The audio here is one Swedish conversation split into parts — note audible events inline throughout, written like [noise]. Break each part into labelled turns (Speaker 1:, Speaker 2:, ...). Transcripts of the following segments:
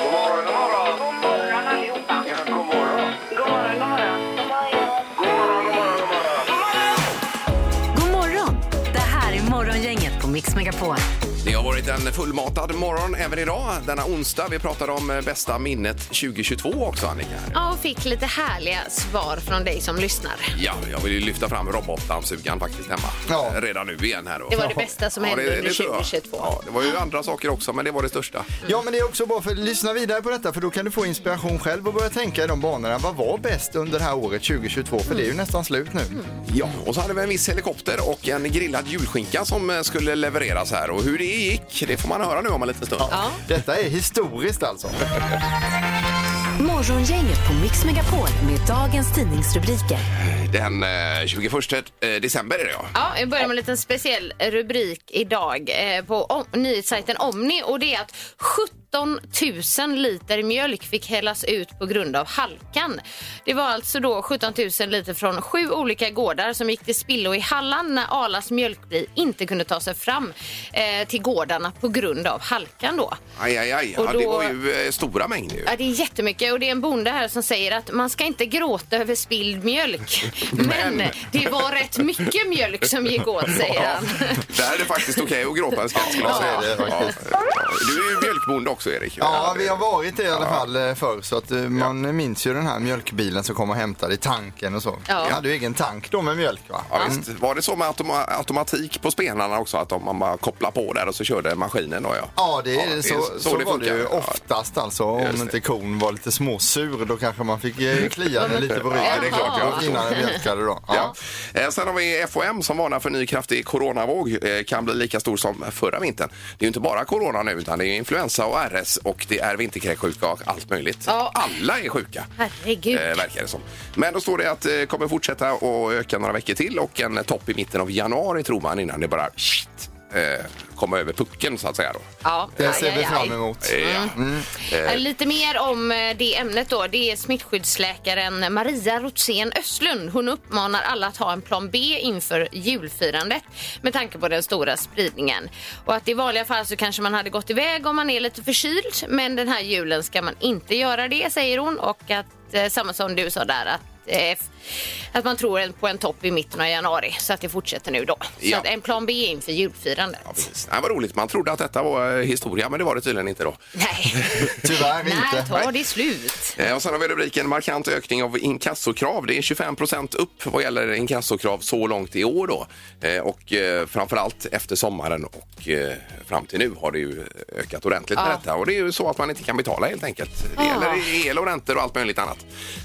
Speaker 1: God morgon, god morgon. God morgon allihopa. Ja, god morgon. God morgon, god morgon.
Speaker 2: God
Speaker 1: God morgon, god morgon, god morgon.
Speaker 2: morgon! Det här är Morgongänget på Mix Megapol.
Speaker 3: Det har varit en fullmatad morgon även idag, denna onsdag. Vi pratar om eh, bästa minnet 2022 också, Annika.
Speaker 4: Ja, och fick lite härliga svar från dig som lyssnar.
Speaker 3: Ja, jag vill ju lyfta fram robotdammsugaren faktiskt hemma.
Speaker 5: Ja.
Speaker 3: Eh, Redan nu igen här då.
Speaker 4: Det var det bästa som hände under
Speaker 3: tror jag.
Speaker 4: 2022.
Speaker 3: Ja, det var ju andra saker också, men det var det största.
Speaker 6: Ja, men det är också bra för lyssna vidare på detta för då kan du få inspiration själv och börja tänka i de banorna. Vad var bäst under det här året 2022? För det är ju nästan slut nu.
Speaker 3: Ja, och så hade vi en viss helikopter och en grillad julskinka som eh, skulle levereras här. Och hur det gick, det får man höra nu om en liten stund.
Speaker 4: Ja.
Speaker 6: Detta är historiskt alltså.
Speaker 2: Morgongänget på Mix Megapol med dagens tidningsrubriker.
Speaker 3: Den eh, 21 eh, december är det ja.
Speaker 4: Ja, jag börjar med en liten speciell rubrik idag eh, på om, nyhetssajten Omni och det är att 17 000 liter mjölk fick hällas ut på grund av halkan. Det var alltså då 17 000 liter från sju olika gårdar som gick till spillo i Halland när Arlas mjölkbil inte kunde ta sig fram eh, till gårdarna på grund av halkan då.
Speaker 3: Aj, aj, aj.
Speaker 4: Och
Speaker 3: Ja, det
Speaker 4: då-
Speaker 3: var ju eh, stora mängder ju.
Speaker 4: Ja, det är jättemycket och det är en bonde här som säger att man ska inte gråta över spilld mjölk. Men det var rätt mycket mjölk som gick åt, säger han.
Speaker 3: Där är det faktiskt okej att gråta en skatt skulle jag
Speaker 6: Ja, det är
Speaker 3: säga.
Speaker 6: det faktiskt.
Speaker 3: Ja. Du är ju mjölkbonde också Erik.
Speaker 6: Ja, vi har varit det i alla fall eh, förr så att eh, man minns ju den här mjölkbilen som kom och hämtade i tanken och så.
Speaker 4: Ja.
Speaker 6: Vi hade ju egen tank då med mjölk va?
Speaker 3: Ja, visst. Var det så med automa- automatik på spenarna också? Att om man bara kopplar på där och så körde maskinen då ja.
Speaker 6: Ja, det är,
Speaker 3: Ja, det är
Speaker 6: så,
Speaker 3: så
Speaker 6: så, var
Speaker 3: det
Speaker 6: det
Speaker 3: funkar.
Speaker 6: ju
Speaker 3: Ja.
Speaker 6: oftast alltså. Om
Speaker 3: Just det.
Speaker 6: inte kon var lite småsur då kanske man fick eh, klia den lite på ryggen
Speaker 3: Ja, det är klart, jag förstår.
Speaker 6: innan den mjölkade då. Ja.
Speaker 3: Ja. Eh, Sen har vi FOM som varnar för ny kraftig coronavåg. Eh, Kan bli lika stor som förra vintern. Det är ju inte bara corona nu utan det är influensa och RS och det är vinterkräksjuka och allt möjligt.
Speaker 4: Ja.
Speaker 3: Alla är sjuka.
Speaker 4: Herregud.
Speaker 3: Eh, verkar det som. Men då står det att det kommer fortsätta och öka några veckor till och en topp i mitten av januari tror man innan det bara shit, eh, kommer över pucken så att säga. Då.
Speaker 4: Ja,
Speaker 6: Det
Speaker 4: aj,
Speaker 6: ser vi
Speaker 4: aj, aj.
Speaker 6: fram emot.
Speaker 3: Ja.
Speaker 4: Eh, Lite mer om eh, det ämnet då. Det är smittskyddsläkaren Maria Rotsén Östlund. Hon uppmanar alla att ha en plan B inför julfirandet med tanke på den stora spridningen. Och att i vanliga fall så kanske man hade gått iväg om man är lite förkyld. Men den här julen ska man inte göra det, säger hon. Och att eh, samma som du sa där, att eh, f- att man tror en- på en topp i mitten av januari så att det fortsätter nu då. Så
Speaker 3: Ja.
Speaker 4: att en plan B inför julfirandet.
Speaker 3: Ja, precis. Nej, vad roligt. Man trodde att detta var eh, historia, men det var det tydligen inte då.
Speaker 4: Nej,
Speaker 6: Tyvärr
Speaker 4: när
Speaker 6: inte.
Speaker 4: tar det slut?
Speaker 3: Eh, Och sen har vi rubriken markant ökning av inkassokrav. Det är 25 procent upp vad gäller inkassokrav så långt i år då. Eh, Och eh, framförallt efter sommaren och eh, fram till nu har det ju ökat ordentligt med detta. Och det är ju så att man inte kan betala helt enkelt. Det gäller el och räntor och allt möjligt annat.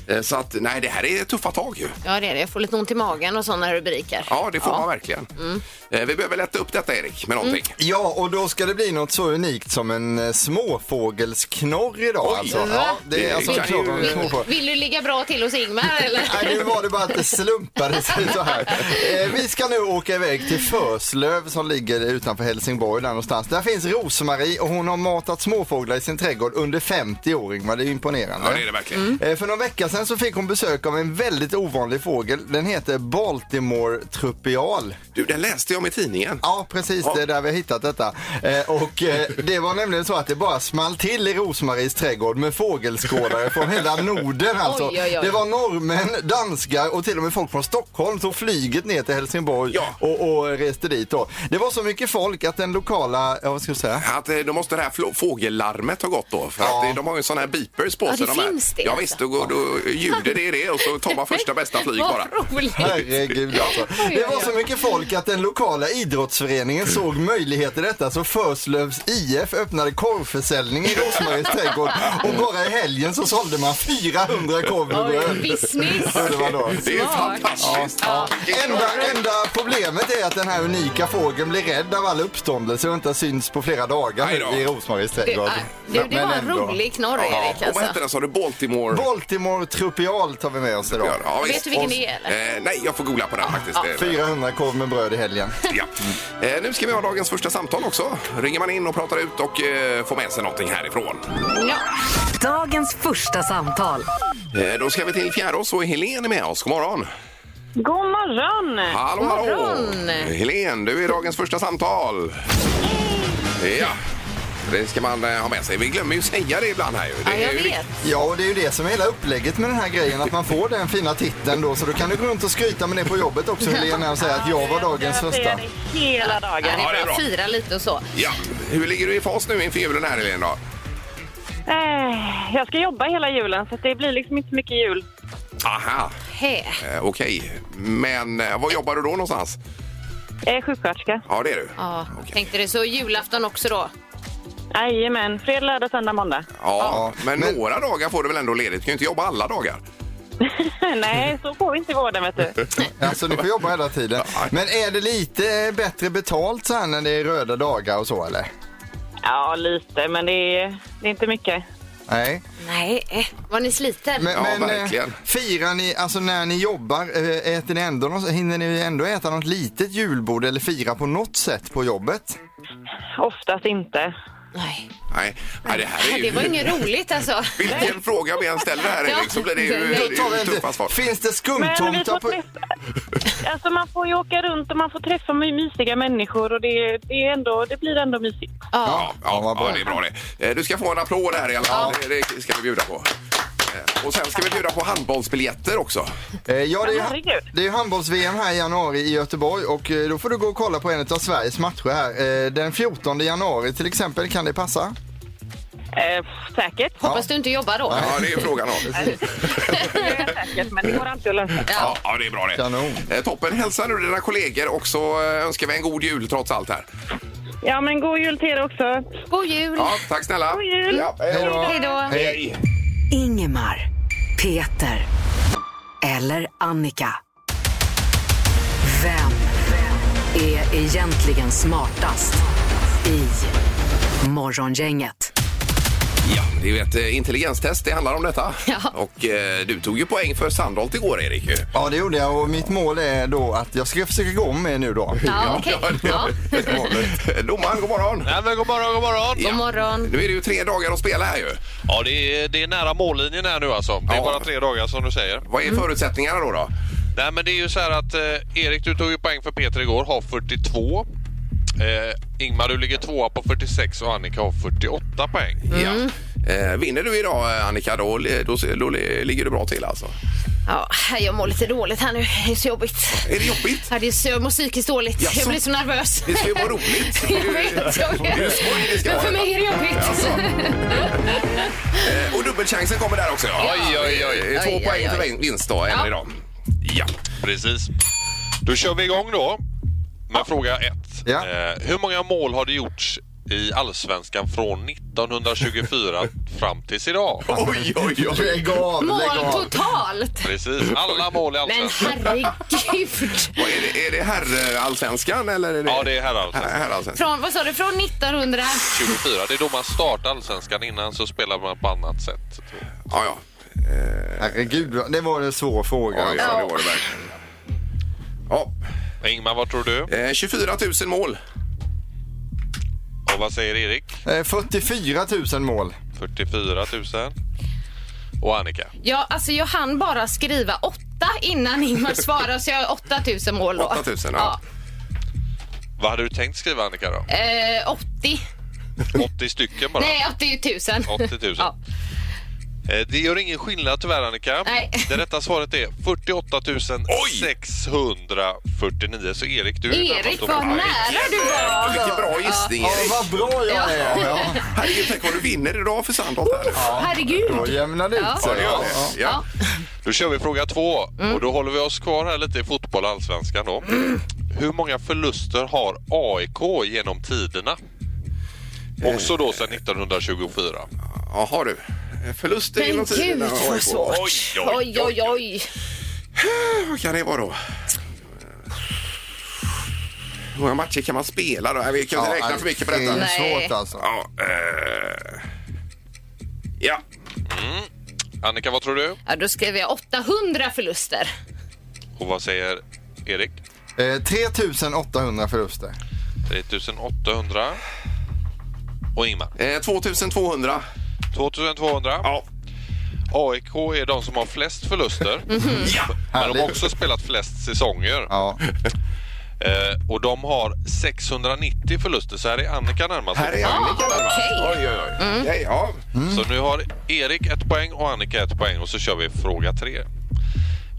Speaker 3: Eh, Så att nej, det här är tuffa tag ju.
Speaker 4: Ja, det är det. Jag får lite ont i magen och sådana rubriker.
Speaker 3: Ja, Mm. det får man verkligen. Eh, Vi behöver lätta upp detta Erik med någonting.
Speaker 6: Ja, och då ska det bli något så unikt som en eh, småfågelsknorr idag.
Speaker 3: Oj,
Speaker 6: alltså.
Speaker 3: va?
Speaker 6: Ja, det
Speaker 3: Det
Speaker 6: är alltså en
Speaker 3: kan
Speaker 6: knorr
Speaker 3: ju-
Speaker 6: av en småfågel.
Speaker 4: Vill du ligga bra till hos Ingmar eller?
Speaker 6: Nej, nu var det bara att det slumpade sig så här. Eh, vi ska nu åka iväg till Förslöv som ligger utanför Helsingborg där någonstans. Där finns Rosmarie och hon har matat småfåglar i sin trädgård under 50 år Ingmar. Det är imponerande.
Speaker 3: Ja, det är det verkligen.
Speaker 6: Eh, För någon vecka sedan så fick hon besök av en väldigt ovanlig fågel. Den heter Baltimore trupial.
Speaker 3: Du, den läste jag om i tidningen.
Speaker 6: Ja, precis.
Speaker 3: Ja.
Speaker 6: Det är där vi har hittat detta. Eh, och eh, det var nämligen så att det bara small till i Rosmaries trädgård med fågelskådare från hela Norden
Speaker 4: [laughs]
Speaker 6: alltså.
Speaker 4: Oj, oj, oj.
Speaker 6: Det var norrmän, danskar och till och med folk från Stockholm tog flyget ner till Helsingborg
Speaker 3: Ja.
Speaker 6: och, och reste dit då. Det var så mycket folk att den lokala, ja vad ska jag säga?
Speaker 3: Att eh, då måste det här flå- fågellarmet ha gått då. För
Speaker 6: Ja.
Speaker 3: att eh, de har ju sådana här beepers på
Speaker 4: Ja,
Speaker 3: sig.
Speaker 4: det
Speaker 3: de här.
Speaker 4: finns det
Speaker 3: Ja,
Speaker 4: alltså.
Speaker 3: visst, då, går, då ljuder det i det och så tar man första bästa flyg bara.
Speaker 4: [laughs] Vad roligt.
Speaker 6: Herregud alltså.
Speaker 4: oj,
Speaker 6: Det var
Speaker 4: oj.
Speaker 6: så mycket folk att den lokala idrottsföreningen såg möjligheter i detta så Förslövs IF öppnade korvförsäljning i Rosmaries trädgård och bara i helgen så sålde man 400 korv med
Speaker 4: Oj,
Speaker 6: bröd.
Speaker 4: business.
Speaker 6: Ja, det var då.
Speaker 3: Det är ju
Speaker 4: Smart.
Speaker 3: fantastiskt.
Speaker 6: Enda, enda problemet är att den här unika fågeln blir rädd av all uppståndelse och inte har synts på flera dagar
Speaker 3: Aj då.
Speaker 6: nu i Rosmaries
Speaker 4: Du,
Speaker 6: trädgård.
Speaker 4: äh, du, det
Speaker 6: Men
Speaker 4: var en
Speaker 6: ändå.
Speaker 4: rolig knorr,
Speaker 3: Ja.
Speaker 4: Erik.
Speaker 3: Och vad
Speaker 4: Alltså.
Speaker 3: hette den sa du? Baltimore?
Speaker 6: Baltimore trupial tar vi med oss idag.
Speaker 3: Ja, ja,
Speaker 4: Vet
Speaker 3: visst.
Speaker 4: du vilken det är,
Speaker 3: Eh, nej, jag får googla på den faktiskt. Det är-
Speaker 6: 400 korv med bröd i helgen.
Speaker 3: Ja. Eh, nu ska vi ha dagens första samtal också. Ringer man in och pratar ut och eh, får med sig någonting härifrån.
Speaker 4: Ja.
Speaker 2: Dagens första samtal.
Speaker 3: Eh, då ska vi till Fjärås och Helen är med oss. God morgon!
Speaker 7: God morgon!
Speaker 3: Hallå,
Speaker 4: God
Speaker 3: hallå!
Speaker 4: morgon.
Speaker 3: Helen, du är dagens första samtal. Ja, det ska man eh, ha med sig. Vi glömmer ju säga det ibland här ju.
Speaker 4: ja,
Speaker 3: Det är
Speaker 4: jag
Speaker 3: ju
Speaker 4: vet.
Speaker 6: Ja, och det är ju det som är hela upplägget med den här grejen, att man får den fina titeln då, så då kan du gå runt och skryta med det på jobbet också Helena och säga att jag var dagens
Speaker 7: Jag säger
Speaker 6: första.
Speaker 7: det hela
Speaker 4: Ja,
Speaker 7: dagen.
Speaker 4: det
Speaker 3: Ja, det är
Speaker 4: är bra.
Speaker 3: bra.
Speaker 4: Fira lite och så.
Speaker 3: Ja, hur ligger du i fas nu inför julen här Helen då?
Speaker 7: Eh, Jag ska jobba hela julen så att det blir liksom inte så mycket jul.
Speaker 3: Aha,
Speaker 4: Hä.
Speaker 3: eh, okej. Men eh, var jobbar du då någonstans?
Speaker 7: Jag är sjuksköterska.
Speaker 3: Ja, det är du.
Speaker 4: Ja,
Speaker 3: Okej.
Speaker 4: tänkte det. Så julafton också då?
Speaker 7: Jajamän, fredag, lördag, söndag, måndag. [laughs]
Speaker 3: Ja,
Speaker 6: Ja,
Speaker 3: men,
Speaker 6: men-
Speaker 3: några dagar får du väl ändå ledigt? Du kan ju inte jobba alla dagar.
Speaker 7: Nej, så får vi inte i vården vet du.
Speaker 6: Alltså du får jobba hela tiden. Men är det lite bättre betalt så här när det är röda dagar och så eller?
Speaker 7: Ja, lite, men det är, det är inte mycket.
Speaker 6: Nej.
Speaker 4: Nej, vad ni sliter.
Speaker 6: Men,
Speaker 3: Ja,
Speaker 6: men eh,
Speaker 3: verkligen.
Speaker 6: firar ni, alltså när ni jobbar, eh, äter ni ändå något, hinner ni ändå äta något litet julbord eller fira på något sätt på jobbet?
Speaker 7: Oftast inte.
Speaker 4: Nej.
Speaker 3: Nej, nej det här är ju...
Speaker 4: Det var inget roligt alltså.
Speaker 3: Vilken fråga vi än ställer här
Speaker 4: [laughs] Ja.
Speaker 3: Erik så blir det ju
Speaker 4: Nej.
Speaker 3: det
Speaker 6: Tar vi
Speaker 3: är
Speaker 6: en-
Speaker 3: ju tuffa svar.
Speaker 6: Finns det
Speaker 7: Men vi får
Speaker 6: skumtomtar på...
Speaker 7: träffa... Alltså man får ju åka runt och man får träffa my- mysiga människor och det, det, är ändå, det blir ändå mysigt.
Speaker 3: Ja,
Speaker 6: Ja,
Speaker 3: ja,
Speaker 6: vad bra.
Speaker 3: ja, det är bra det. Eh, Du ska få en applåd här i alla fall. Det det ska vi bjuda på. Eh, Och sen ska vi bjuda på handbollsbiljetter också.
Speaker 6: Eh, Ja, det är, ju-
Speaker 7: Herregud.
Speaker 6: det är ju handbolls-VM här i januari i Göteborg och eh, då får du gå och kolla på en av Sveriges matcher här. Eh, Den 14 januari till exempel, kan det passa?
Speaker 7: Eh, pff, säkert.
Speaker 4: Hoppas du inte jobbar då.
Speaker 3: Ja, det är ju frågan
Speaker 6: [laughs]
Speaker 3: om.
Speaker 7: Det är säkert, men det går alltid att lösa.
Speaker 3: Ja, ja, det är bra det.
Speaker 6: Kanon.
Speaker 3: Eh, Toppen, hälsa nu dina kollegor och så eh, önskar vi en god jul trots allt här.
Speaker 7: Ja, men god jul till er också.
Speaker 4: God jul!
Speaker 3: Ja, tack snälla.
Speaker 7: God jul.
Speaker 3: Ja, hej då.
Speaker 4: Hej då!
Speaker 3: Hej.
Speaker 2: Ingemar, Peter eller Annika. Vem är egentligen smartast i Morgongänget?
Speaker 3: Ja, det är ju ett eh, intelligenstest det handlar om detta.
Speaker 4: Ja.
Speaker 3: Och eh, du tog ju poäng för Sandholt igår Erik. ju.
Speaker 6: Ja, det gjorde jag och mitt mål är då att jag ska försöka gå om er nu då.
Speaker 4: Ja, okej. Ja.
Speaker 3: Eh, [laughs] Domaren, god morgon.
Speaker 8: Nej, men god morgon, god morgon!
Speaker 4: God morgon.
Speaker 3: Nu är det ju tre dagar att spela här ju.
Speaker 8: Ja, det är, det är nära mållinjen här nu alltså. Det är
Speaker 3: Ja.
Speaker 8: bara tre dagar som du säger.
Speaker 3: Vad
Speaker 6: Mm.
Speaker 3: är förutsättningarna då? då?
Speaker 8: Nej, men det är ju så här att eh, Erik, du tog ju poäng för Peter igår, har 42. Eh, Ingmar, du ligger tvåa på 46 och Annika har 48 poäng.
Speaker 3: Ja. Eh, vinner du idag eh, Annika, då, då, då ligger du bra till alltså.
Speaker 4: Ja, jag mår lite dåligt här nu. Det är så jobbigt.
Speaker 3: Är det jobbigt?
Speaker 4: Ja, det är så, jag mår psykiskt dåligt.
Speaker 3: Jaså?
Speaker 4: Jag blir så nervös.
Speaker 3: Det ska ju vara roligt.
Speaker 4: [laughs] Jag vet, jag
Speaker 3: Det är ju
Speaker 4: vet.
Speaker 3: skoj det ska
Speaker 4: Men
Speaker 3: vara.
Speaker 4: för mig är det jobbigt.
Speaker 3: Eh, Och dubbelchansen kommer där också. Ja.
Speaker 8: Oj, oj, oj.
Speaker 3: Eh, Två
Speaker 4: Oj,
Speaker 3: poäng
Speaker 4: oj, oj.
Speaker 3: till vinst då, en
Speaker 4: Ja.
Speaker 3: idag. Ja.
Speaker 8: Precis. Då kör vi igång då med fråga ett.
Speaker 6: Ja.
Speaker 8: Eh, hur många mål har det gjorts i Allsvenskan från
Speaker 6: [laughs]
Speaker 8: 1924 fram tills idag?
Speaker 3: Oj, oj, oj.
Speaker 6: Lägg av, lägg
Speaker 4: Mål
Speaker 6: av.
Speaker 4: totalt!
Speaker 8: Precis, alla mål i
Speaker 4: Men
Speaker 8: Allsvenskan.
Speaker 4: herregud!
Speaker 3: Vad Är det, är det herrallsvenskan eller? Är det...
Speaker 8: Ja, det är alltså. herrallsvenskan.
Speaker 3: Här- herrallsvenskan.
Speaker 4: Från, vad sa du? Från 1900?
Speaker 8: 24. Det är då man startar allsvenskan. Innan så spelar man på annat sätt.
Speaker 3: Ja, ja.
Speaker 6: Herregud, det var en svår fråga.
Speaker 3: Ja,
Speaker 6: alltså.
Speaker 3: ja, det var det verkligen. Ja.
Speaker 8: Ingmar, vad tror du?
Speaker 3: Eh, 24 000 mål.
Speaker 8: Och vad säger Erik?
Speaker 6: Eh, 44 000 mål.
Speaker 8: 44 000. Och Annika?
Speaker 4: Ja, alltså jag hann bara skriva åtta innan Ingmar svarade så jag har 8000 mål då.
Speaker 3: 8000, ja.
Speaker 8: Vad hade du tänkt skriva Annika då?
Speaker 4: Ja. Eh, 80?
Speaker 8: 80 stycken bara?
Speaker 4: Nej, 80 000.
Speaker 8: 80 000.
Speaker 4: Ja.
Speaker 8: Eh, Det gör ingen skillnad tyvärr Annika.
Speaker 4: Nej.
Speaker 8: Det rätta svaret är 48 649. Så Erik, du är
Speaker 4: Erik,
Speaker 8: närmast att
Speaker 4: vad
Speaker 8: vinna.
Speaker 4: nära du var!
Speaker 3: Vilken bra gissning,
Speaker 6: Ja,
Speaker 3: Erik.
Speaker 6: vad bra jag är. Ja.
Speaker 3: Herregud, tänk om du vinner idag för Sandholt. här nu.
Speaker 6: Då
Speaker 4: Herregud!
Speaker 6: jämnar det ut
Speaker 4: Ja.
Speaker 3: Ja, det
Speaker 6: sig.
Speaker 3: gör
Speaker 6: Ja,
Speaker 3: det.
Speaker 6: ja.
Speaker 3: Ja.
Speaker 8: Då kör vi fråga två
Speaker 4: Mm.
Speaker 8: och då håller vi oss kvar här lite i fotboll och allsvenskan då. Hur många förluster har AIK genom tiderna? Också då sedan 1924.
Speaker 3: Jaha du. Förluster
Speaker 4: Men
Speaker 3: inom tiden.
Speaker 4: gud
Speaker 3: Ja,
Speaker 4: vad svårt.
Speaker 3: Oj,
Speaker 4: Oj, oj, oj.
Speaker 3: Vad kan det vara då? Hur många matcher kan man spela då? Vi kan inte
Speaker 6: Ja, alltså,
Speaker 3: räkna för mycket på detta. eh,
Speaker 6: Det
Speaker 4: Nej.
Speaker 6: är svårt alltså.
Speaker 3: Ja, eh, ja.
Speaker 8: Annika, vad tror du?
Speaker 4: Ja, då skriver jag 800 förluster.
Speaker 8: Och vad säger Erik?
Speaker 6: Eh, 3800 förluster.
Speaker 8: 3800. Och Ingmar?
Speaker 3: Eh, 2200.
Speaker 8: 2200.
Speaker 3: Ja.
Speaker 8: AIK är de som har flest förluster. Men de har
Speaker 6: Härligt.
Speaker 8: också spelat flest säsonger.
Speaker 6: Ja.
Speaker 8: Eh, och de har 690 förluster, så här är Annika närmast.
Speaker 3: Här är Annika. där, va?
Speaker 4: okej. Mm.
Speaker 3: Oj, oj, oj. Okej, ja.
Speaker 8: Så nu har Erik ett poäng och Annika ett poäng och så kör vi fråga tre.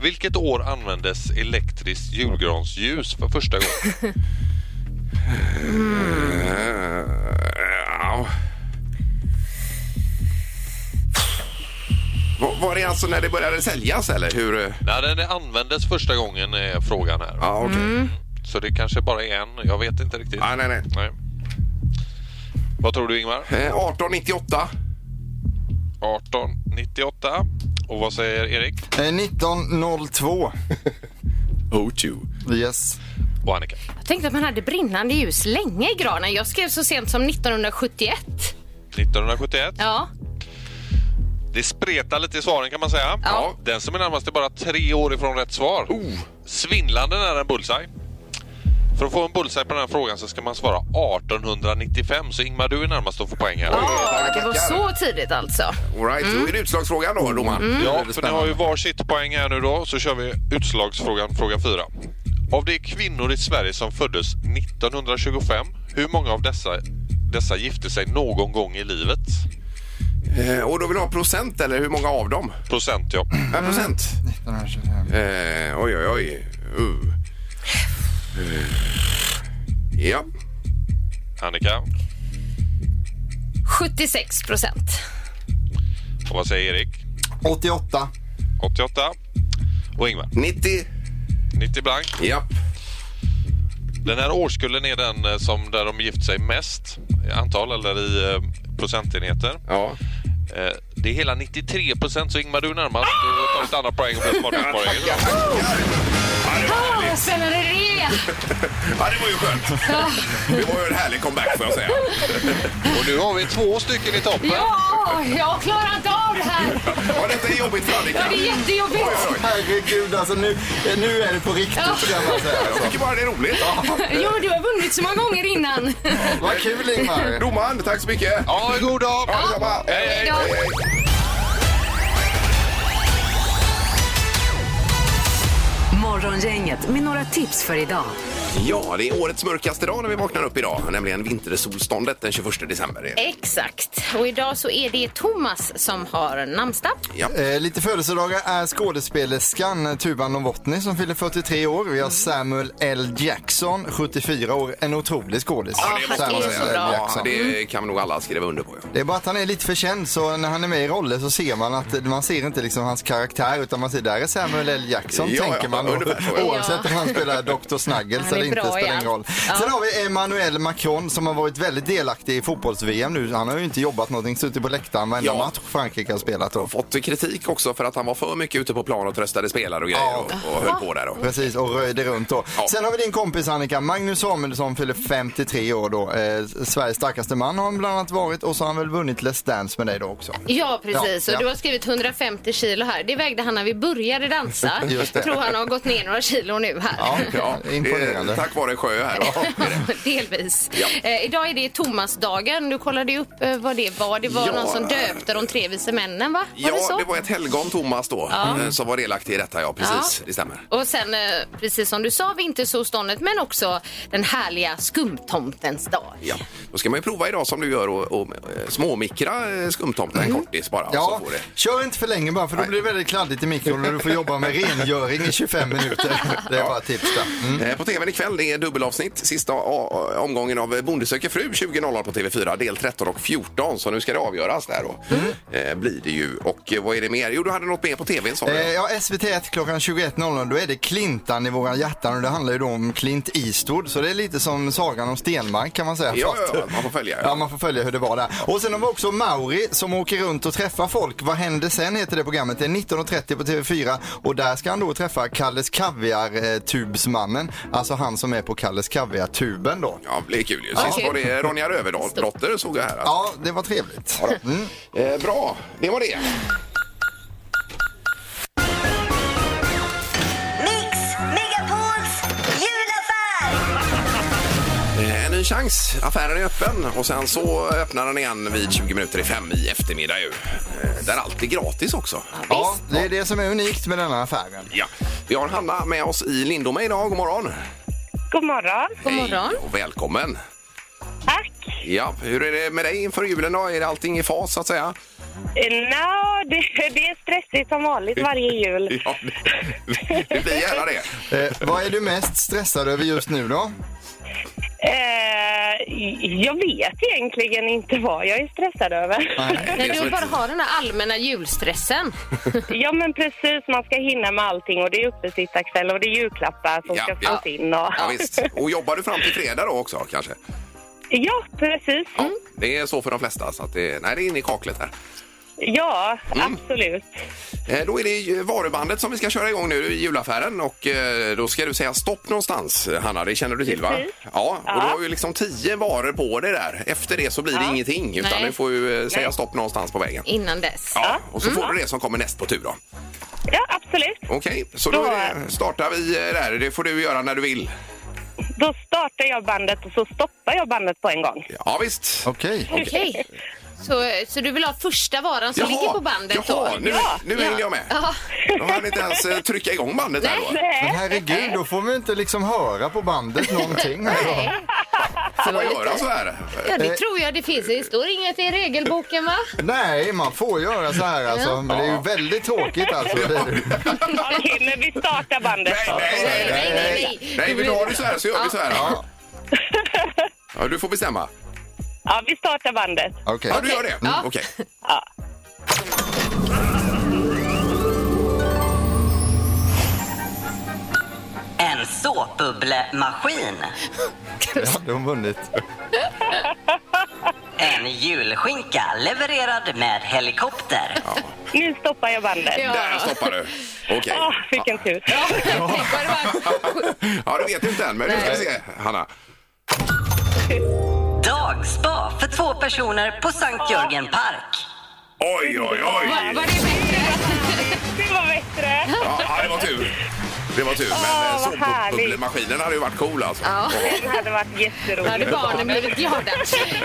Speaker 8: Vilket år användes elektriskt julgransljus för första gången?
Speaker 4: [laughs]
Speaker 3: Ja. Var- Var det alltså när det började säljas eller hur? eh?
Speaker 8: När den användes första gången är frågan här.
Speaker 3: Ja, okej.
Speaker 4: Mm.
Speaker 8: Så det kanske bara är en, jag vet inte riktigt.
Speaker 3: Ja, nej, nej.
Speaker 8: Nej. Vad tror du Ingmar?
Speaker 3: Eh, 1898.
Speaker 8: 1898. Och vad säger Erik?
Speaker 6: Eh, 1902.
Speaker 3: Oh, tju.
Speaker 6: Yes.
Speaker 8: Och Annika?
Speaker 4: Jag tänkte att man hade brinnande ljus länge i granen. Jag skrev så sent som 1971.
Speaker 8: 1971.
Speaker 4: Ja,
Speaker 8: Det spretar lite i svaren kan man säga.
Speaker 4: Ja.
Speaker 8: Den som är närmast är bara tre år ifrån rätt svar. Svindlande nära en bullseye. För att få en bullseye på den här frågan så ska man svara 1895. Så Ingmar, du är närmast att få poäng här.
Speaker 4: ja det var
Speaker 3: tackar.
Speaker 4: så tidigt alltså.
Speaker 3: All right, då är det utslagsfrågan då, domaren.
Speaker 8: Mm. Ja, för ni har ju varsitt poäng här nu då. Så kör vi utslagsfrågan, fråga 4. Av de kvinnor i Sverige som föddes 1925, hur många av dessa, dessa gifte sig någon gång i livet?
Speaker 3: Eh, och då vill du ha procent eller hur många av dem?
Speaker 8: Procent ja.
Speaker 3: Ja, procent.
Speaker 6: 1925.
Speaker 3: Eh, oj, oj, oj. Uh. Eh. Ja.
Speaker 8: Annika,
Speaker 4: 76 procent.
Speaker 8: och vad säger Erik?
Speaker 6: 88.
Speaker 8: 88. Och Ingmar?
Speaker 3: 90.
Speaker 8: 90 blank.
Speaker 3: Ja.
Speaker 8: Den här årskullen är den eh, som där de gift sig mest i antal eller i eh, procentenheter.
Speaker 3: Ja.
Speaker 8: Eh, det är hela 93 procent, så Ingmar du är närmast. Du tar ett annat poäng och blir smartast på poängen.
Speaker 4: Ja, vad spännande det är.
Speaker 3: ja, det var ju skönt. Det var ju en härlig comeback får jag säga.
Speaker 8: Och nu har vi två stycken i toppen.
Speaker 4: Ja, jag klarar inte av det här.
Speaker 3: Ja, detta är jobbigt för Annika.
Speaker 4: Ja, det är jättejobbigt.
Speaker 3: Oj, oj, oj.
Speaker 6: Herregud, alltså nu, nu är det på riktigt kan man säga.
Speaker 3: Jag
Speaker 6: Alltså.
Speaker 3: tycker bara det är roligt.
Speaker 4: Jo, men du har vunnit så många gånger innan.
Speaker 6: Vad kul Ingmar.
Speaker 3: Domaren, tack så mycket.
Speaker 8: Ja, god dag!
Speaker 3: Ja, detsamma. Hej, hej, hej, hej.
Speaker 2: Morgongänget med några tips för idag.
Speaker 3: Ja, det är årets mörkaste dag när vi vaknar upp idag, nämligen vintersolståndet den 21 december.
Speaker 4: Exakt. Och idag så är det Thomas som har namnsdag.
Speaker 3: Ja.
Speaker 6: Eh, lite födelsedagar är skådespelerskan Tuva Novotny som fyller 43 år. Vi har Samuel L. Jackson, 74 år. En otrolig skådis.
Speaker 4: Ja, han är
Speaker 6: Samuel
Speaker 4: så
Speaker 6: L.
Speaker 4: bra. Mm.
Speaker 3: Ja,
Speaker 6: Jackson.
Speaker 3: det kan nog alla skriva under på. ja.
Speaker 6: Det är bara att han är lite för känd så när han är med i roller så ser man att man ser inte liksom hans karaktär utan man ser där är Samuel L. Jackson
Speaker 3: Ja,
Speaker 6: tänker
Speaker 3: ja,
Speaker 6: man
Speaker 3: ungefär så, ja.
Speaker 6: oavsett om han spelar Dr. Snuggles
Speaker 4: Han är
Speaker 6: eller inte
Speaker 4: bra i
Speaker 6: spelar ingen
Speaker 4: allt.
Speaker 6: roll.
Speaker 4: Ja.
Speaker 6: Sen har vi Emmanuel Macron som har varit väldigt delaktig i fotbolls-VM nu. Han har ju inte jobbat någonting, suttit på läktaren varenda
Speaker 3: Ja.
Speaker 6: match Frankrike har spelat då.
Speaker 3: Fått kritik också för att han var för mycket ute på plan och tröstade spelare och grejer
Speaker 6: Ja.
Speaker 3: och, och höll på där. Då.
Speaker 6: Precis, och röjde runt då.
Speaker 3: Ja.
Speaker 6: Sen har vi din kompis Annika, Magnus Samuelsson fyller 53 år då. Eh, Sveriges starkaste man har han bland annat varit och så har han väl vunnit Let's Dance med dig då också.
Speaker 4: Ja, precis. Och
Speaker 6: Ja, ja.
Speaker 4: du har skrivit 150 kilo här. Det vägde han när vi började dansa.
Speaker 6: Just det.
Speaker 4: Jag tror han har gått ner några kilo nu här.
Speaker 6: Ja,
Speaker 3: det är
Speaker 6: imponerande.
Speaker 3: Tack vare sjö här. då.
Speaker 4: Delvis.
Speaker 3: Ja.
Speaker 4: Eh, idag är det Thomasdagen. Du kollade ju upp eh, vad det var. Det var
Speaker 3: Ja.
Speaker 4: någon som döpte de tre vise männen, va? Var det
Speaker 3: Ja,
Speaker 4: så?
Speaker 3: det var ett helgon Thomas då eh, som var delaktig i detta. Ja, precis. Det stämmer.
Speaker 4: Och sen, eh, precis som du sa, vintersolståndet men också den härliga skumtomtens dag.
Speaker 3: Ja. Då ska man ju prova idag som du gör och, och eh, småmikra eh, skumtomten en kortis bara. och
Speaker 6: Mm. Ja,
Speaker 3: Så får det.
Speaker 6: kör inte för länge bara för då blir det väldigt kladdigt i mikron och du får jobba med rengöring i 25 minuter. Det är bara ett tips där. Mm.
Speaker 3: Eh, På tvn ikväll det är dubbelavsnitt. Sista a- a- omgången av Bonde söker fru 20.00 på TV4. Del 13 och 14. Så nu ska det avgöras där då.
Speaker 6: Mm.
Speaker 3: Eh, blir det ju. Och eh, vad är det mer? Jo, du hade något mer på tvn sa
Speaker 6: Eh,
Speaker 3: du.
Speaker 6: Ja, SVT1 klockan 21.00 då är det Clintan i våra hjärtan och det handlar ju då om Clint Eastwood så det är lite som Sagan om Stenmark kan man säga.
Speaker 3: Ja,
Speaker 6: Fast-
Speaker 3: ja, ja, man får följa, ja.
Speaker 6: Ja, man får följa hur det var där. Och sen har vi också Mauri som åker runt och träffar folk. Vad händer sen heter det programmet. Det är 19.30 på TV4 och där ska han då träffa Kalles Kaviar-tubsmannen. Alltså han som är på Kalles Kaviar-tuben då.
Speaker 3: Ja, det blir kul ju. Sist
Speaker 4: Okej.
Speaker 3: var det Ronja Rövardotter såg jag här. alltså.
Speaker 6: Mm. Ja, det var trevligt.
Speaker 3: Eh, bra, det var det. Eh, En ny chans. Affären är öppen och sen så öppnar den igen vid 20 minuter i fem i eftermiddag. Ju. Eh, Där allt är gratis också.
Speaker 6: Ja, det är det som är unikt med denna affären.
Speaker 3: Ja. Vi har Hanna med oss i Lindome idag. God morgon!
Speaker 7: God morgon.
Speaker 4: God morgon.
Speaker 3: Hej och välkommen!
Speaker 7: Tack.
Speaker 3: Ja, hur är det med dig inför julen då? Är det allting i fas så att säga?
Speaker 7: No, det, det är stressigt som vanligt varje jul.
Speaker 3: [laughs] Ja, det, det blir gärna det.
Speaker 6: Eh, vad är du mest stressad över just nu då?
Speaker 7: Eh, jag vet egentligen inte vad jag är stressad över.
Speaker 3: Det
Speaker 4: När
Speaker 3: är som
Speaker 4: du
Speaker 3: ett-
Speaker 4: bara har den här allmänna
Speaker 3: [laughs]
Speaker 4: julstressen.
Speaker 7: [laughs] Ja men precis, man ska hinna med allting och det är uppesittarkväll och det är julklappar som
Speaker 3: Ja,
Speaker 7: ska
Speaker 3: ja.
Speaker 7: fås in. Och...
Speaker 3: Ja, visst. Och jobbar du fram till fredag då också kanske?
Speaker 7: Ja, precis.
Speaker 3: Ja, det är så för de flesta. Så att det, nej, det är inne i kaklet här.
Speaker 7: Ja,
Speaker 3: Mm.
Speaker 7: absolut.
Speaker 3: Eh, Då är det ju varubandet som vi ska köra igång nu i julaffären och eh, då ska du säga stopp någonstans, Hanna. Det känner du till va?
Speaker 7: Precis.
Speaker 3: Ja, och du
Speaker 7: Ja.
Speaker 3: har ju liksom tio varor på dig där. Efter det så blir det ingenting utan
Speaker 4: Nej.
Speaker 3: du får ju eh, säga
Speaker 7: Nej.
Speaker 3: stopp någonstans på vägen.
Speaker 4: Innan dess.
Speaker 3: Ja, och så får du det som kommer näst på tur då.
Speaker 7: Ja, absolut.
Speaker 3: Okej, så då
Speaker 7: Då-
Speaker 3: är det- startar vi eh, där. Det får du göra när du vill.
Speaker 7: Då startar jag bandet och så stoppar jag bandet på en gång.
Speaker 3: Ja, visst.
Speaker 6: Okej.
Speaker 4: Okej. Så, så du vill ha första varan som ligger på bandet
Speaker 3: jaha,
Speaker 4: då?
Speaker 3: nu, nu
Speaker 4: Ja.
Speaker 3: hängde jag med.
Speaker 4: Ja.
Speaker 3: De hann inte ens eh, trycka igång bandet här då.
Speaker 6: Men
Speaker 7: Nej.
Speaker 6: herregud, då får vi inte liksom höra på bandet någonting. Alltså.
Speaker 3: Får man göra så här?
Speaker 4: Ja, det tror jag det finns. Det står inget i regelboken, va?
Speaker 6: Nej, man får göra så här alltså. Men det är ju väldigt tråkigt alltså. Det är det.
Speaker 7: Okej, men vi startar bandet.
Speaker 3: Nej,
Speaker 7: då.
Speaker 3: nej, nej, nej.
Speaker 4: Nej, nej, nej.
Speaker 3: Nej, vill du ha det så här så gör vi så här.
Speaker 6: Ja,
Speaker 3: Ja, du får bestämma.
Speaker 7: Ja, vi startar bandet.
Speaker 6: okej.
Speaker 3: Ja, du gör det? Mm,
Speaker 4: Ja.
Speaker 3: Okej.
Speaker 1: En såpbubblemaskin.
Speaker 6: Hade hon vunnit?
Speaker 1: En julskinka levererad med helikopter.
Speaker 7: Nu stoppar jag bandet.
Speaker 4: Ja. [laughs]
Speaker 3: Där stoppar du. Okej.
Speaker 7: Ah, vilken tur.
Speaker 4: Ja, tänk vad det var.
Speaker 3: Ja, du vet inte än, men du ska
Speaker 4: Nej.
Speaker 3: se, Hanna.
Speaker 1: Dagspa för två personer på Sankt Jörgen Park.
Speaker 3: Oj, oj, oj!
Speaker 4: Var, var det bättre?
Speaker 7: Det var bättre.
Speaker 3: Ja, ja, det var tur. Det var tur, men
Speaker 7: Åh,
Speaker 3: eh,
Speaker 7: vad härligt.
Speaker 3: såpbubblemaskinen hade ju varit cool alltså.
Speaker 4: Ja.
Speaker 7: Det hade varit
Speaker 4: Då
Speaker 7: jätteroligt.
Speaker 4: hade barnen blivit glada.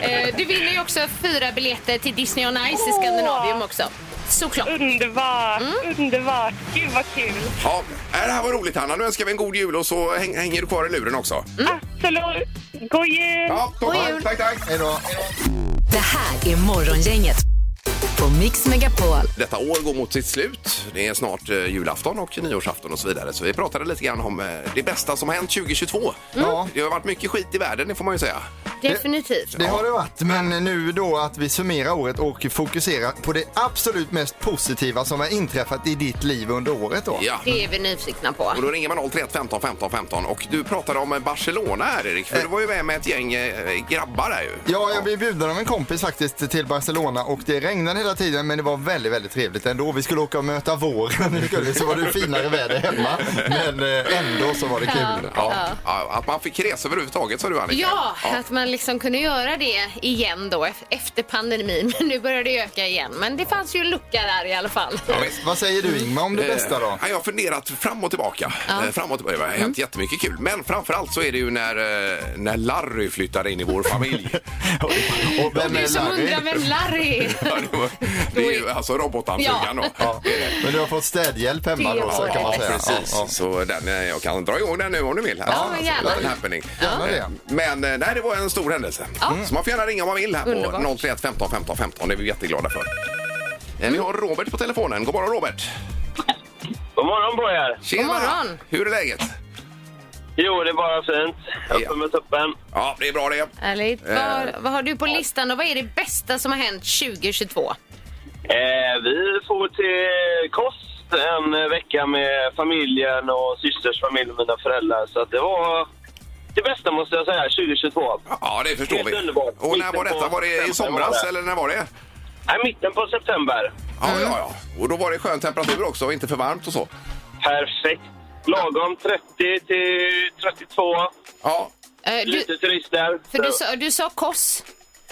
Speaker 4: Eh, Du vinner ju också fyra biljetter till Disney on Ice i Skandinavium också. Såklart.
Speaker 7: Underbart, underbart. Gud vad kul.
Speaker 3: Ja, äh, det här var roligt Hanna. Nu önskar vi en god jul och så häng, hänger du kvar i luren också.
Speaker 7: Absolut. God jul!
Speaker 3: Ja, toppen.
Speaker 4: jul.
Speaker 3: Tack, tack.
Speaker 6: Hej då.
Speaker 2: Det här är Morgongänget på Mix Megapol.
Speaker 3: Detta år går mot sitt slut. Det är snart eh, julafton och nyårsafton och så vidare. Så vi pratade lite grann om eh, det bästa som har hänt 2022.
Speaker 6: Ja.
Speaker 3: Det har varit mycket skit i världen, det får man ju säga.
Speaker 4: Definitivt.
Speaker 6: Det har det varit, men nu då att vi summerar året och fokuserar på det absolut mest positiva som har inträffat i ditt liv under året då.
Speaker 3: Ja.
Speaker 4: Det är vi nyfikna på.
Speaker 3: Och då ringer man 031 15 15 15 och du pratade om eh, Barcelona här Erik, för du var ju med med ett gäng eh, grabbar där ju.
Speaker 6: Ja, jag blev bjuden av en kompis faktiskt till Barcelona och det regnade hela tiden men det var väldigt, väldigt trevligt ändå. Vi skulle åka och möta våren, vi skulle, så var det finare väder hemma. Men eh, ändå så var det kul.
Speaker 3: Ja. Ja, Att man fick resa överhuvudtaget sa du Annika.
Speaker 4: Ja, att man liksom kunde göra det igen då ef- efter pandemin. Men nu börjar det öka igen. Men det fanns ju en lucka där i alla fall.
Speaker 6: Vad säger du Ingmar om det bästa då?
Speaker 3: Eh, Ja, Jag har funderat fram och tillbaka.
Speaker 4: Ja. Mm.
Speaker 3: Eh, Fram och tillbaka. Det har hänt jättemycket kul. Men framförallt så är det ju när, eh, när Larry flyttade in i
Speaker 6: [laughs]
Speaker 3: vår familj.
Speaker 6: Och vem
Speaker 4: Du
Speaker 6: är
Speaker 4: som
Speaker 6: Larry?
Speaker 4: undrar vem Larry är.
Speaker 3: Ja, det, var, det är ju alltså robotdammsugaren
Speaker 4: Ja.
Speaker 6: Ja,
Speaker 3: då.
Speaker 6: men du har fått städhjälp hemma
Speaker 4: Det
Speaker 6: då så
Speaker 4: har
Speaker 6: kan man
Speaker 4: jag.
Speaker 6: säga.
Speaker 3: Precis,
Speaker 6: Ja,
Speaker 3: så den, eh, jag kan dra igång den nu om du vill.
Speaker 4: Ja, men gärna.
Speaker 3: Little happening.
Speaker 6: Gärna det.
Speaker 3: Eh, Men eh, nej, det var en stor händelse. Så man får gärna ringa om man vill här på
Speaker 4: Underbart.
Speaker 3: 031 15 15 15. Det är vi jätteglada för. Eh, Vi har Robert på telefonen. God morgon Robert!
Speaker 1: God morgon på er.
Speaker 3: Tjena!
Speaker 4: God morgon.
Speaker 3: Hur är läget?
Speaker 1: Jo, det är bara fint. Uppe med tuppen.
Speaker 3: Ja, det är bra det.
Speaker 4: Härligt.
Speaker 1: Eh.
Speaker 4: Vad, vad har du på listan och vad är det bästa som har hänt 2022?
Speaker 1: Eh, vi får till Kost en eh, vecka med familjen och systers familj och mina föräldrar. Så att det var det bästa måste jag säga, 2022.
Speaker 3: Ja, det förstår
Speaker 1: Helt
Speaker 3: vi.
Speaker 1: underbart.
Speaker 3: Och när
Speaker 1: Mitten
Speaker 3: var detta?
Speaker 1: på
Speaker 3: Var det i
Speaker 1: september var
Speaker 3: somras
Speaker 1: det.
Speaker 3: eller när var det?
Speaker 1: Nej, mitten på september.
Speaker 4: Mm.
Speaker 3: Ja, ja, ja. Och då var det skön temperatur också och inte för varmt och så.
Speaker 1: Perfekt. Lagom 30 till 32.
Speaker 3: Ja,
Speaker 4: Eh, Du,
Speaker 1: Lite turister.
Speaker 4: för du, sa, du sa Koss.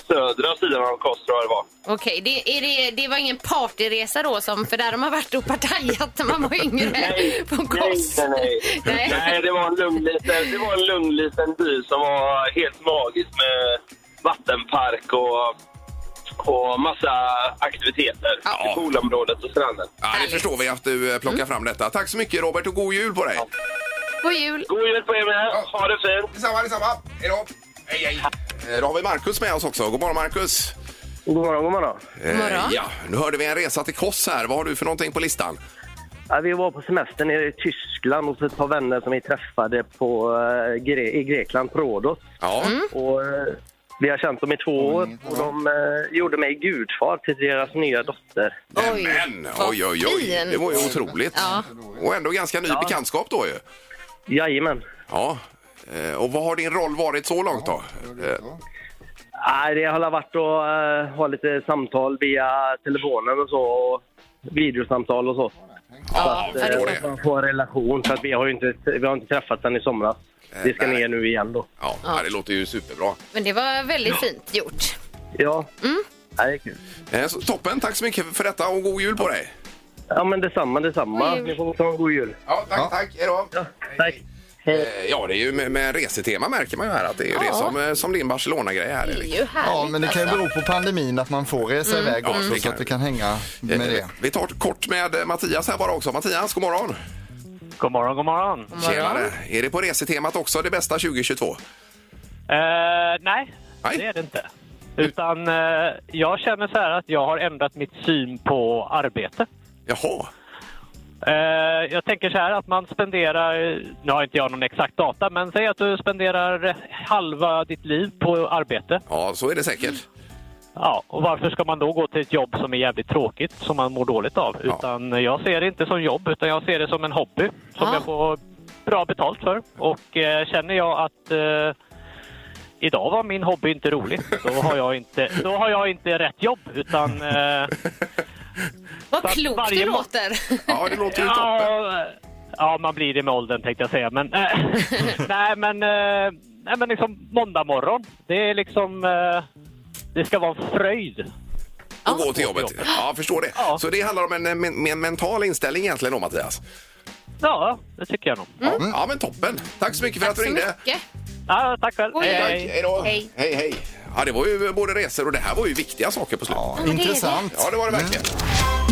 Speaker 1: södra sidan av Kos tror jag det var.
Speaker 4: Okej, det, är det, det var ingen partyresa då, som, för där har man varit och partajat när man var yngre på Kos.
Speaker 1: Nej, nej,
Speaker 4: [laughs]
Speaker 1: nej. nej det, var en lugn liten, det var en lugn liten by som var helt magisk med vattenpark och, och massa aktiviteter i poolområdet och stranden.
Speaker 3: Ja, det förstår vi att du eh, plockar
Speaker 4: Mm.
Speaker 3: fram detta. Tack så mycket Robert och god jul på dig!
Speaker 4: God jul!
Speaker 1: God jul på er med! Ha det fint!
Speaker 3: Detsamma, detsamma! Hej då! Hej, hej! Eh, Då har vi Markus med oss också. God morgon Markus!
Speaker 9: God morgon, god morgon.
Speaker 3: Eh,
Speaker 4: morgon.
Speaker 3: Ja, nu hörde vi en resa till Kos här. Vad har du för någonting på listan?
Speaker 9: Ja, vi var på semester nere i Tyskland hos ett par vänner som vi träffade på, eh, Gre- i Grekland, på Rhodos.
Speaker 3: Ja,
Speaker 4: Mm.
Speaker 9: Och, eh, vi har känt dem i två år
Speaker 3: Mm,
Speaker 9: och de eh, gjorde mig gudfar till deras nya dotter.
Speaker 4: Oj,
Speaker 3: men
Speaker 4: vad
Speaker 3: oj, oj, oj.
Speaker 4: fin.
Speaker 3: Det var ju otroligt.
Speaker 4: Ja.
Speaker 3: Och ändå ganska ny bekantskap då ju.
Speaker 9: Jajamän.
Speaker 3: Ja. Eh, Och vad har din roll varit så långt då? Eh,
Speaker 9: Nej, det har varit att eh, ha lite samtal via telefonen och så. Och videosamtal och så.
Speaker 3: Ja,
Speaker 9: Eh,
Speaker 3: förstår
Speaker 9: så
Speaker 3: det.
Speaker 9: att man får en relation. För att vi har ju inte, vi har inte träffats sedan i somras. Vi ska
Speaker 3: nej.
Speaker 9: ner nu igen då.
Speaker 3: Ja, ja, det låter ju superbra.
Speaker 4: Men det var väldigt fint gjort.
Speaker 9: Ja. Ja, det är kul.
Speaker 3: Eh, så Toppen, tack så mycket för detta och god jul på dig!
Speaker 9: Ja, men detsamma, detsamma.
Speaker 4: God jul.
Speaker 9: Ni får ta en god jul.
Speaker 3: Ja, tack, tack. Hej då!
Speaker 9: Tack.
Speaker 3: Eh, Ja, det är ju med, med resetema märker man ju här att det är ju det som, eh, som din Barcelona-grej här.
Speaker 4: Det
Speaker 3: Erik.
Speaker 4: är ju härligt.
Speaker 6: Ja, men det kan ju bero på pandemin att man får resa
Speaker 4: Mm.
Speaker 6: iväg också
Speaker 3: det
Speaker 6: så
Speaker 3: kan
Speaker 6: att
Speaker 3: det.
Speaker 6: vi kan hänga med
Speaker 3: Eh,
Speaker 6: det.
Speaker 3: Vi tar kort med eh, Mattias här bara också. Mattias, god morgon!
Speaker 9: God morgon, god morgon.
Speaker 3: Tjenare! Är det på resetemat också det bästa 2022?
Speaker 9: Eh, nej,
Speaker 3: Nej.
Speaker 9: det är det inte. Utan eh, jag känner så här att jag har ändrat mitt syn på arbete.
Speaker 3: Jaha,
Speaker 9: Eh, jag tänker så här att man spenderar, nu har inte jag någon exakt data, men säg att du spenderar halva ditt liv på arbete.
Speaker 3: ja så är det säkert.
Speaker 9: Ja, och varför ska man då gå till ett jobb som är jävligt tråkigt, som man mår dåligt av?
Speaker 3: Ja.
Speaker 9: Utan jag ser det inte som jobb, utan jag ser det som en hobby som
Speaker 4: Ja.
Speaker 9: jag får bra betalt för. Och eh, känner jag att eh, idag var min hobby inte rolig, då har jag inte, då har jag inte rätt jobb, utan eh, så
Speaker 4: [laughs] Vad
Speaker 9: att
Speaker 4: klokt
Speaker 9: varje
Speaker 4: det
Speaker 9: må-
Speaker 4: låter.
Speaker 3: Ja, det låter ju toppen.
Speaker 9: Ja, ja, man blir det med åldern tänkte jag säga.
Speaker 4: [laughs]
Speaker 9: Men, eh, [laughs] nej, men, eh, nej, men liksom måndag morgon. Det är liksom... Eh, det ska vara en fröjd.
Speaker 3: Och gå till jobbet. Ja, jag förstår det.
Speaker 9: Ja.
Speaker 3: Så det handlar om en, eh, men- men- mental inställning egentligen då Mattias?
Speaker 9: Ja, det tycker jag nog.
Speaker 4: Mm.
Speaker 3: Ja. ja, men toppen. Tack så mycket för
Speaker 4: Tack
Speaker 3: att du
Speaker 4: så
Speaker 3: ringde.
Speaker 4: mycket.
Speaker 9: Ja, tack själv.
Speaker 4: Oj,
Speaker 3: Tack,
Speaker 4: oj.
Speaker 3: hej då.
Speaker 4: Hej.
Speaker 3: hej. hej. Ja, det var ju både resor och det här var ju viktiga saker på slutet.
Speaker 6: Ja,
Speaker 4: men det är det.
Speaker 6: intressant.
Speaker 3: Ja, det var det verkligen.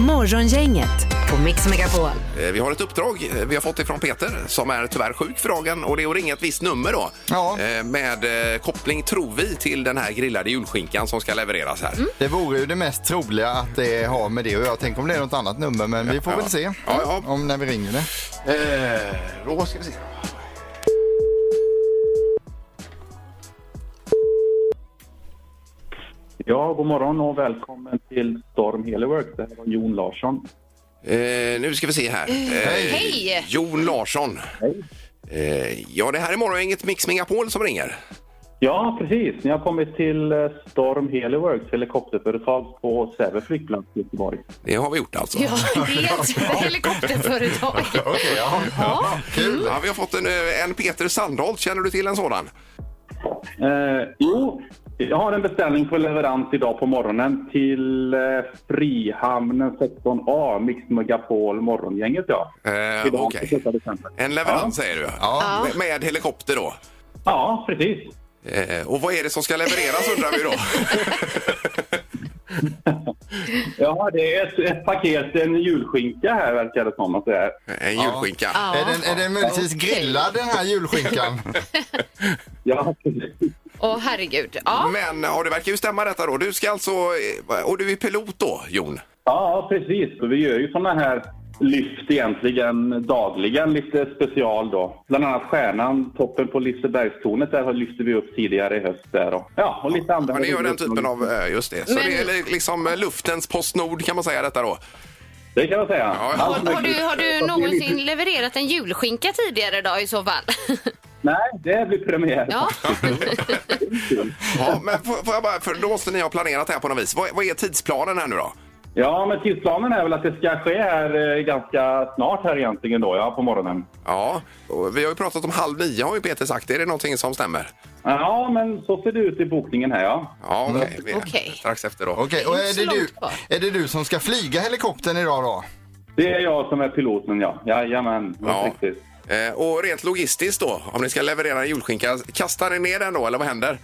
Speaker 2: Morgongänget på Mix Megapol.
Speaker 3: Eh, Vi har ett uppdrag eh, vi har fått ifrån Peter som är tyvärr sjuk för dagen och det är att ringa ett visst nummer då.
Speaker 6: Ja.
Speaker 3: Eh, Med eh, koppling, tror vi, till den här grillade julskinkan som ska levereras här.
Speaker 6: Det vore ju det mest troliga att det har med det och jag tänker om det är något annat nummer men vi får väl se
Speaker 3: ja.
Speaker 6: om när vi ringer det.
Speaker 3: Eh, då ska vi se.
Speaker 9: Ja, god morgon och välkommen till Storm Helework. Det här var Jon Larsson.
Speaker 3: Eh, nu ska vi se här. Eh,
Speaker 4: Hej!
Speaker 3: Jon Larsson. Eh, ja, det här är morgongänget Mix Megapol som ringer.
Speaker 9: Ja, precis. Ni har kommit till eh, Storm Heleworks helikopterföretag på Säve flygplats i Göteborg.
Speaker 3: Det har vi gjort alltså.
Speaker 4: Ja, det är ett
Speaker 9: [laughs]
Speaker 4: helikopterföretag.
Speaker 6: Okej, ja. Kul.
Speaker 3: Ja, vi har fått en, eh, en Peter Sandholt. Känner du till en sådan?
Speaker 9: Eh, jo, jag har en beställning för leverans idag på morgonen till eh, Frihamnen 16A, Mix Megapol Morgongänget. Ja.
Speaker 3: Eh,
Speaker 9: Idag,
Speaker 3: okej.
Speaker 9: 28 december.
Speaker 3: En leverans säger du?
Speaker 6: Ja.
Speaker 3: Med, med helikopter då?
Speaker 9: Ja, precis.
Speaker 3: Eh, och vad är det som ska levereras undrar vi då? [laughs]
Speaker 9: Ja, det är ett, ett paket, en julskinka här verkar det som att det är.
Speaker 3: En julskinka.
Speaker 4: Ja.
Speaker 6: Är den, är den möjligtvis grillad den här
Speaker 3: [laughs]
Speaker 6: julskinkan?
Speaker 9: Ja, precis.
Speaker 4: Åh, herregud. Ja.
Speaker 3: Men ja, det verkar ju stämma detta då. Du ska alltså... eh, Och du är pilot då, Jon?
Speaker 9: ja precis. Och vi gör ju sådana här lyft egentligen dagligen, lite special då. Bland annat stjärnan, toppen på Lisebergstornet, där har- lyfte vi upp tidigare i höst. Där och, ja, och lite andra...
Speaker 3: Ja, ni gör den typen av... eh, Just det. Så
Speaker 4: Men-
Speaker 3: det är li- liksom eh, luftens Postnord kan man säga detta då?
Speaker 9: Det kan man säga.
Speaker 3: Ja, ja.
Speaker 4: Har, har, du, har du någonsin levererat en julskinka tidigare då i så fall? [laughs]
Speaker 9: Nej, det blir premiär.
Speaker 4: Ja.
Speaker 3: Ja, men får, får jag bara, för då måste ni ha planerat det här på något vis. Vad, vad är tidsplanen här nu då?
Speaker 9: Ja, men tidsplanen är väl att det ska ske här eh, ganska snart här egentligen då, ja, på morgonen.
Speaker 3: Ja, och vi har ju pratat om halv nio har ju Peter sagt. Är det någonting som stämmer?
Speaker 9: Ja, men så ser det ut i bokningen här, ja.
Speaker 3: Ja, okej. Vi är
Speaker 4: Okej.
Speaker 3: Strax efter då.
Speaker 6: Okej, och är det, du, är det du som ska flyga helikoptern idag då?
Speaker 9: Det är jag som är piloten, ja. Jajamän,
Speaker 3: Ja.
Speaker 9: ja. riktigt.
Speaker 3: Eh, Och rent logistiskt då, om ni ska leverera en julskinka, kastar ni ner den då eller vad händer?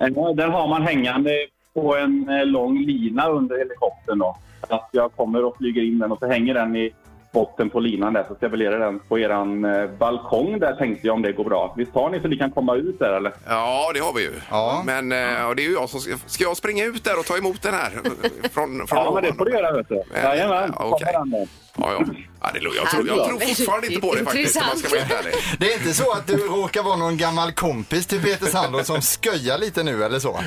Speaker 9: Eh, Den har man hängande på en eh, lång lina under helikoptern då. Att jag kommer och flyger in den och så hänger den i botten på linan där så ska jag värdera den på eran eh, balkong där tänkte jag om det går bra. Visst har ni så ni kan komma ut där eller?
Speaker 3: Ja, det har vi ju.
Speaker 6: Ja.
Speaker 3: Men eh, och det är ju jag som ska... Ska jag springa ut där och ta emot den här? eh, Från, från
Speaker 9: Ja, men det
Speaker 3: ovan?
Speaker 9: får du göra vet du.
Speaker 3: Eh,
Speaker 9: Jajamän,
Speaker 3: ja, okej.
Speaker 9: kommer den då.
Speaker 3: Ja, ja. ja det, är lugnt. jag, tror, jag tror fortfarande inte på det faktiskt om man ska vara helt ärlig.
Speaker 6: Det är inte så att du råkar vara någon gammal kompis till Peter Sandor som sköjar lite nu eller så?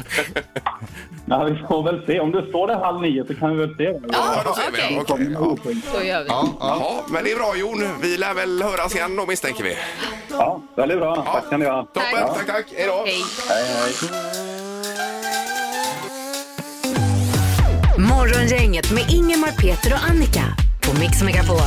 Speaker 9: Ja, vi får väl se. Om du står där halv nio så kan vi väl se.
Speaker 3: Ja, då ser vi.
Speaker 4: okej.
Speaker 3: Okej. Ja.
Speaker 4: Så gör vi.
Speaker 3: Ja, men det är bra Jon. Vi lär väl höras igen då misstänker vi.
Speaker 9: Ja, väldigt bra. Tack ska ni ha.
Speaker 3: Toppen, tack, tack. Hej då.
Speaker 4: Hej.
Speaker 9: Hej, hej.
Speaker 2: Morgongänget med Ingemar, Peter och Annika på Mix Megapol.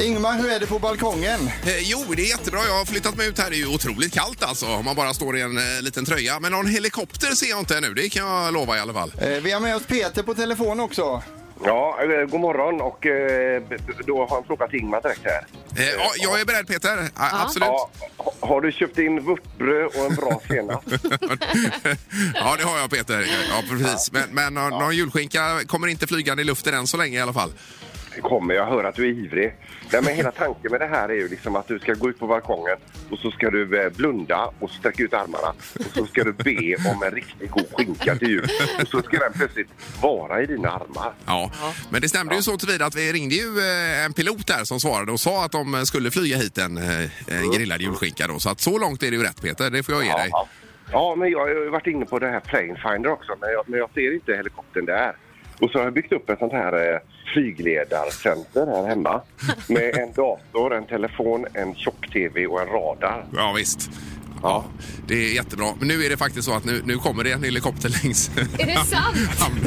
Speaker 6: Ingmar, hur är det på balkongen?
Speaker 3: Eh, Jo, det är jättebra. Jag har flyttat mig ut här. Det är ju otroligt kallt alltså om man bara står i en eh, liten tröja. Men någon helikopter ser jag inte ännu. Det kan jag lova i alla fall.
Speaker 6: Eh, Vi har med oss Peter på telefon också.
Speaker 10: Ja, eh, god morgon och eh, b- b- då har han frågat Ingmar direkt här.
Speaker 3: Eh, Ja, jag är beredd Peter. A- Absolut.
Speaker 10: Ja, ha- har du köpt in vörtbröd och en bra senap?
Speaker 3: [laughs] Ja, det har jag Peter. Ja, precis. Men, men någon, någon julskinka kommer inte flygande i luften än så länge i alla fall.
Speaker 10: Det kommer, jag hör att du är ivrig. Nej, men hela tanken med det här är ju liksom att du ska gå ut på balkongen och så ska du eh, blunda och sträcka ut armarna och så ska du be om en riktigt god skinka till jul och så ska den plötsligt vara i dina armar.
Speaker 3: Ja, men det stämde ju så tillvida att vi ringde ju eh, en pilot där som svarade och sa att de skulle flyga hit en eh, en grillad julskinka då. Så att så långt är det ju rätt Peter, det får jag ge dig.
Speaker 10: Ja, ja, men jag har ju varit inne på det här Plane Finder också, men jag, men jag ser inte helikoptern där. Och så har jag byggt upp ett sånt här eh, flygledarcenter här hemma med en dator, en telefon, en tjock-tv och en radar.
Speaker 3: Ja, visst. Ja, det är jättebra. Men nu är det faktiskt så att nu, nu kommer det en helikopter längs
Speaker 4: Är det
Speaker 3: [laughs]
Speaker 4: sant?
Speaker 3: hamn,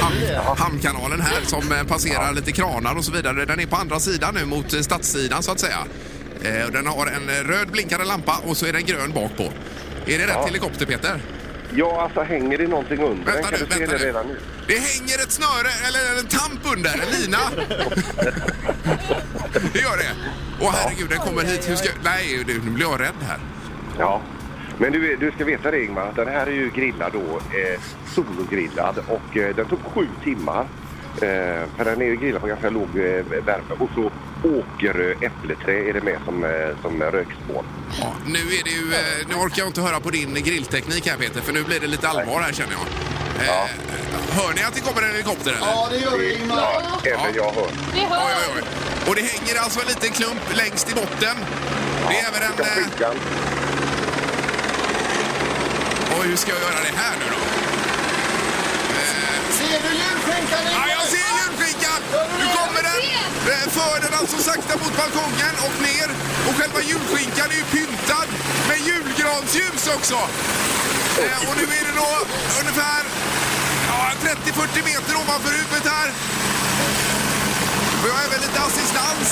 Speaker 3: hamn, hamnkanalen här som eh, passerar lite kranar och så vidare. Den är på andra sidan nu mot eh, stadssidan så att säga. Eh, och Den har en eh, röd blinkande lampa och så är den grön bak på. Är det rätt helikopter Peter?
Speaker 10: Ja, alltså hänger det någonting under den?
Speaker 3: Vänta
Speaker 10: Kan
Speaker 3: nu,
Speaker 10: du se
Speaker 3: vänta
Speaker 10: det
Speaker 3: nu.
Speaker 10: redan nu?
Speaker 3: Det hänger ett snöre eller en tamp under, en lina. det gör det. Åh herregud, den kommer hit. Hur ska... Nej, nu blir jag rädd här.
Speaker 10: Ja. Men du, du ska veta det Ingmar, att den här är ju grillad då, eh, sologrillad och eh, den tog sju timmar. Eh, för den är ju grillad på ganska låg eh, värme och så åkerö äppleträ är det med som, eh, som rökspån.
Speaker 3: Ja, nu, är det ju, eh, nu orkar jag inte höra på din grillteknik här Peter, för nu blir det lite allvar här känner jag. Eh, Hör ni att det kommer en helikopter eller?
Speaker 6: Ja, det gör vi Ingmar.
Speaker 10: Ja, även jag hör.
Speaker 3: Oj, oj, oj. Och det hänger alltså en liten klump längst i botten. Det är även en...
Speaker 10: Skicka
Speaker 3: Eh,
Speaker 10: skickan.
Speaker 3: eh, oj, hur ska jag göra det här nu då?
Speaker 6: Ser du julskinkan
Speaker 3: Ja, jag
Speaker 6: Ingmar?
Speaker 3: ser julskinkan! Nu kommer den! Eh, För den alltså sakta mot balkongen och ner. Och själva julskinkan är ju pyntad med julgransljus också. Eh, Och nu är det då ungefär ja, 30-40 meter ovanför huvudet här. Och jag har även lite assistans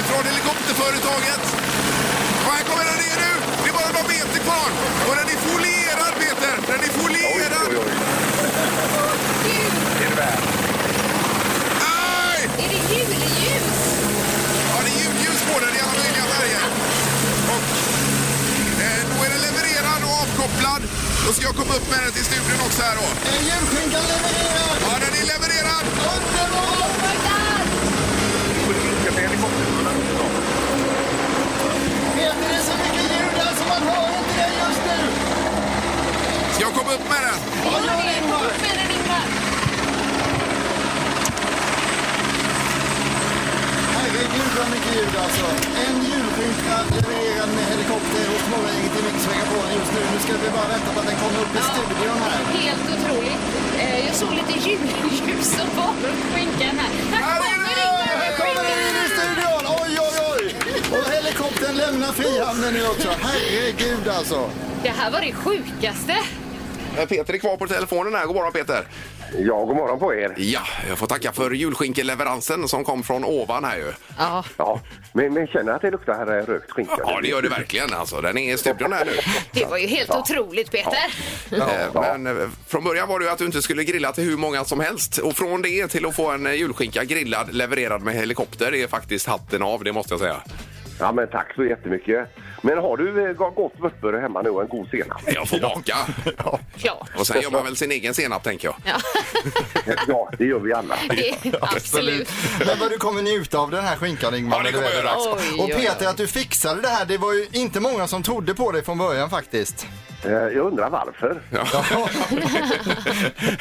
Speaker 3: ifrån helikopterföretaget. Och här kommer den ner nu! Det är bara några meter kvar. Och den är folierad, Peter! Den är
Speaker 10: Oj,
Speaker 3: folierad!
Speaker 10: oj, oj. Är det värt?
Speaker 3: Aj!
Speaker 4: Är det julljus?
Speaker 3: Ja, det är ljudljus på den i alla möjliga färger. Och eh, då är den levererad och avkopplad. Då ska jag komma upp med den till studion också här då.
Speaker 6: Är julskinkan levererad?
Speaker 3: Ja, den är levererad!
Speaker 6: Underbart!
Speaker 10: Får du vinka med helikoptern?
Speaker 6: Peter, det är så mycket ljud där så man hör inte det just nu.
Speaker 3: Ska jag komma upp med den?
Speaker 6: Vad gör Ingmar? Herregud vad mycket ljud alltså. En julskinka levererad med helikopter och smågänget i Mix Megapol just nu. Nu ska vi bara vänta på att den kommer upp i studion här.
Speaker 4: Helt otroligt. Eh, Jag såg lite julljus och varor på skinkan här. Här kommer det!
Speaker 6: Här kommer den in i studion! Oj, oj, oj! Och helikoptern lämnar Frihamnen nu också. Herregud alltså.
Speaker 4: Det här var det sjukaste.
Speaker 3: Eh, Peter är kvar på telefonen här. God morgon Peter!
Speaker 10: Ja, god morgon på er!
Speaker 3: Ja, jag får tacka för julskinkeleveransen som kom från ovan här ju.
Speaker 4: Ja.
Speaker 10: ja. Men, men känner att det luktar här eh, rökt skinka?
Speaker 3: Ja, det gör det verkligen alltså. Den är i studion här nu.
Speaker 4: Det var ju helt
Speaker 3: Ja.
Speaker 4: otroligt, Peter.
Speaker 3: Eh, Men eh, från början var det ju att du inte skulle grilla till hur många som helst. Och från det till att få en eh, julskinka grillad, levererad med helikopter, det är faktiskt hatten av, det måste jag säga.
Speaker 10: Ja, men tack så jättemycket. Men har du eh, gott vörtbröd hemma nu och en god senap?
Speaker 3: Jag får [laughs] baka.
Speaker 4: Klart.
Speaker 3: Och sen gör man väl sin egen senap, tänker jag.
Speaker 10: [laughs] Ja, det gör vi alla.
Speaker 4: [laughs] Absolut.
Speaker 6: Men vad du kommer njuta av den här skinkan Ingmar. när det väl är
Speaker 3: kommer jag
Speaker 6: dags.
Speaker 3: göra. Oj,
Speaker 6: Och
Speaker 3: oj,
Speaker 6: Peter, att du fixade det här, det var ju inte många som trodde på dig från början
Speaker 3: [laughs]
Speaker 6: faktiskt.
Speaker 10: Eh, Jag undrar varför.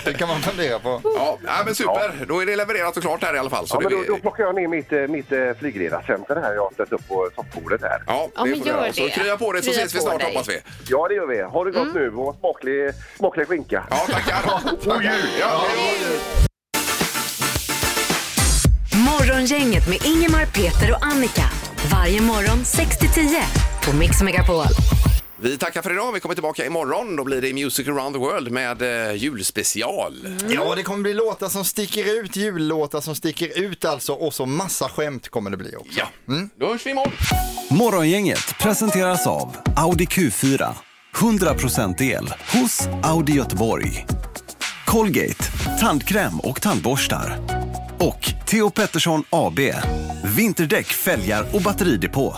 Speaker 6: det kan man fundera på.
Speaker 3: Ja, nej, men super. Då är det levererat och klart här i alla fall. Så
Speaker 10: Ja,
Speaker 3: det
Speaker 10: men då,
Speaker 3: blir-
Speaker 10: då plockar jag ner mitt, eh, mitt eh, flygledarcenter här jag har ställt upp på toppbordet här.
Speaker 3: Ja,
Speaker 4: Ja, det men får vi gör göra. det. Så krya på dig så Krya ses vi på snart, dig. hoppas vi.
Speaker 10: Ja, det gör vi. Ha det gott nu och smaklig, smaklig skinka.
Speaker 3: Ja, [laughs] tackar. God jul! Oh, Ja,
Speaker 2: Morgongänget med Ingemar, Peter och Annika. Varje morgon 6 till 10 på Mix Megapol.
Speaker 3: Vi tackar för idag. Vi kommer tillbaka imorgon. Då blir det Music around the world med eh, julspecial.
Speaker 4: Mm.
Speaker 6: Ja, det kommer bli låtar som sticker ut, jullåtar som sticker ut alltså och så massa skämt kommer det bli också.
Speaker 3: Ja, då hörs vi imorgon.
Speaker 11: Morgongänget presenteras av Audi Q4. 100% el hos Audi Göteborg. Colgate, tandkräm och tandborstar. Och Theo Pettersson AB, vinterdäck, fälgar och batteridepå.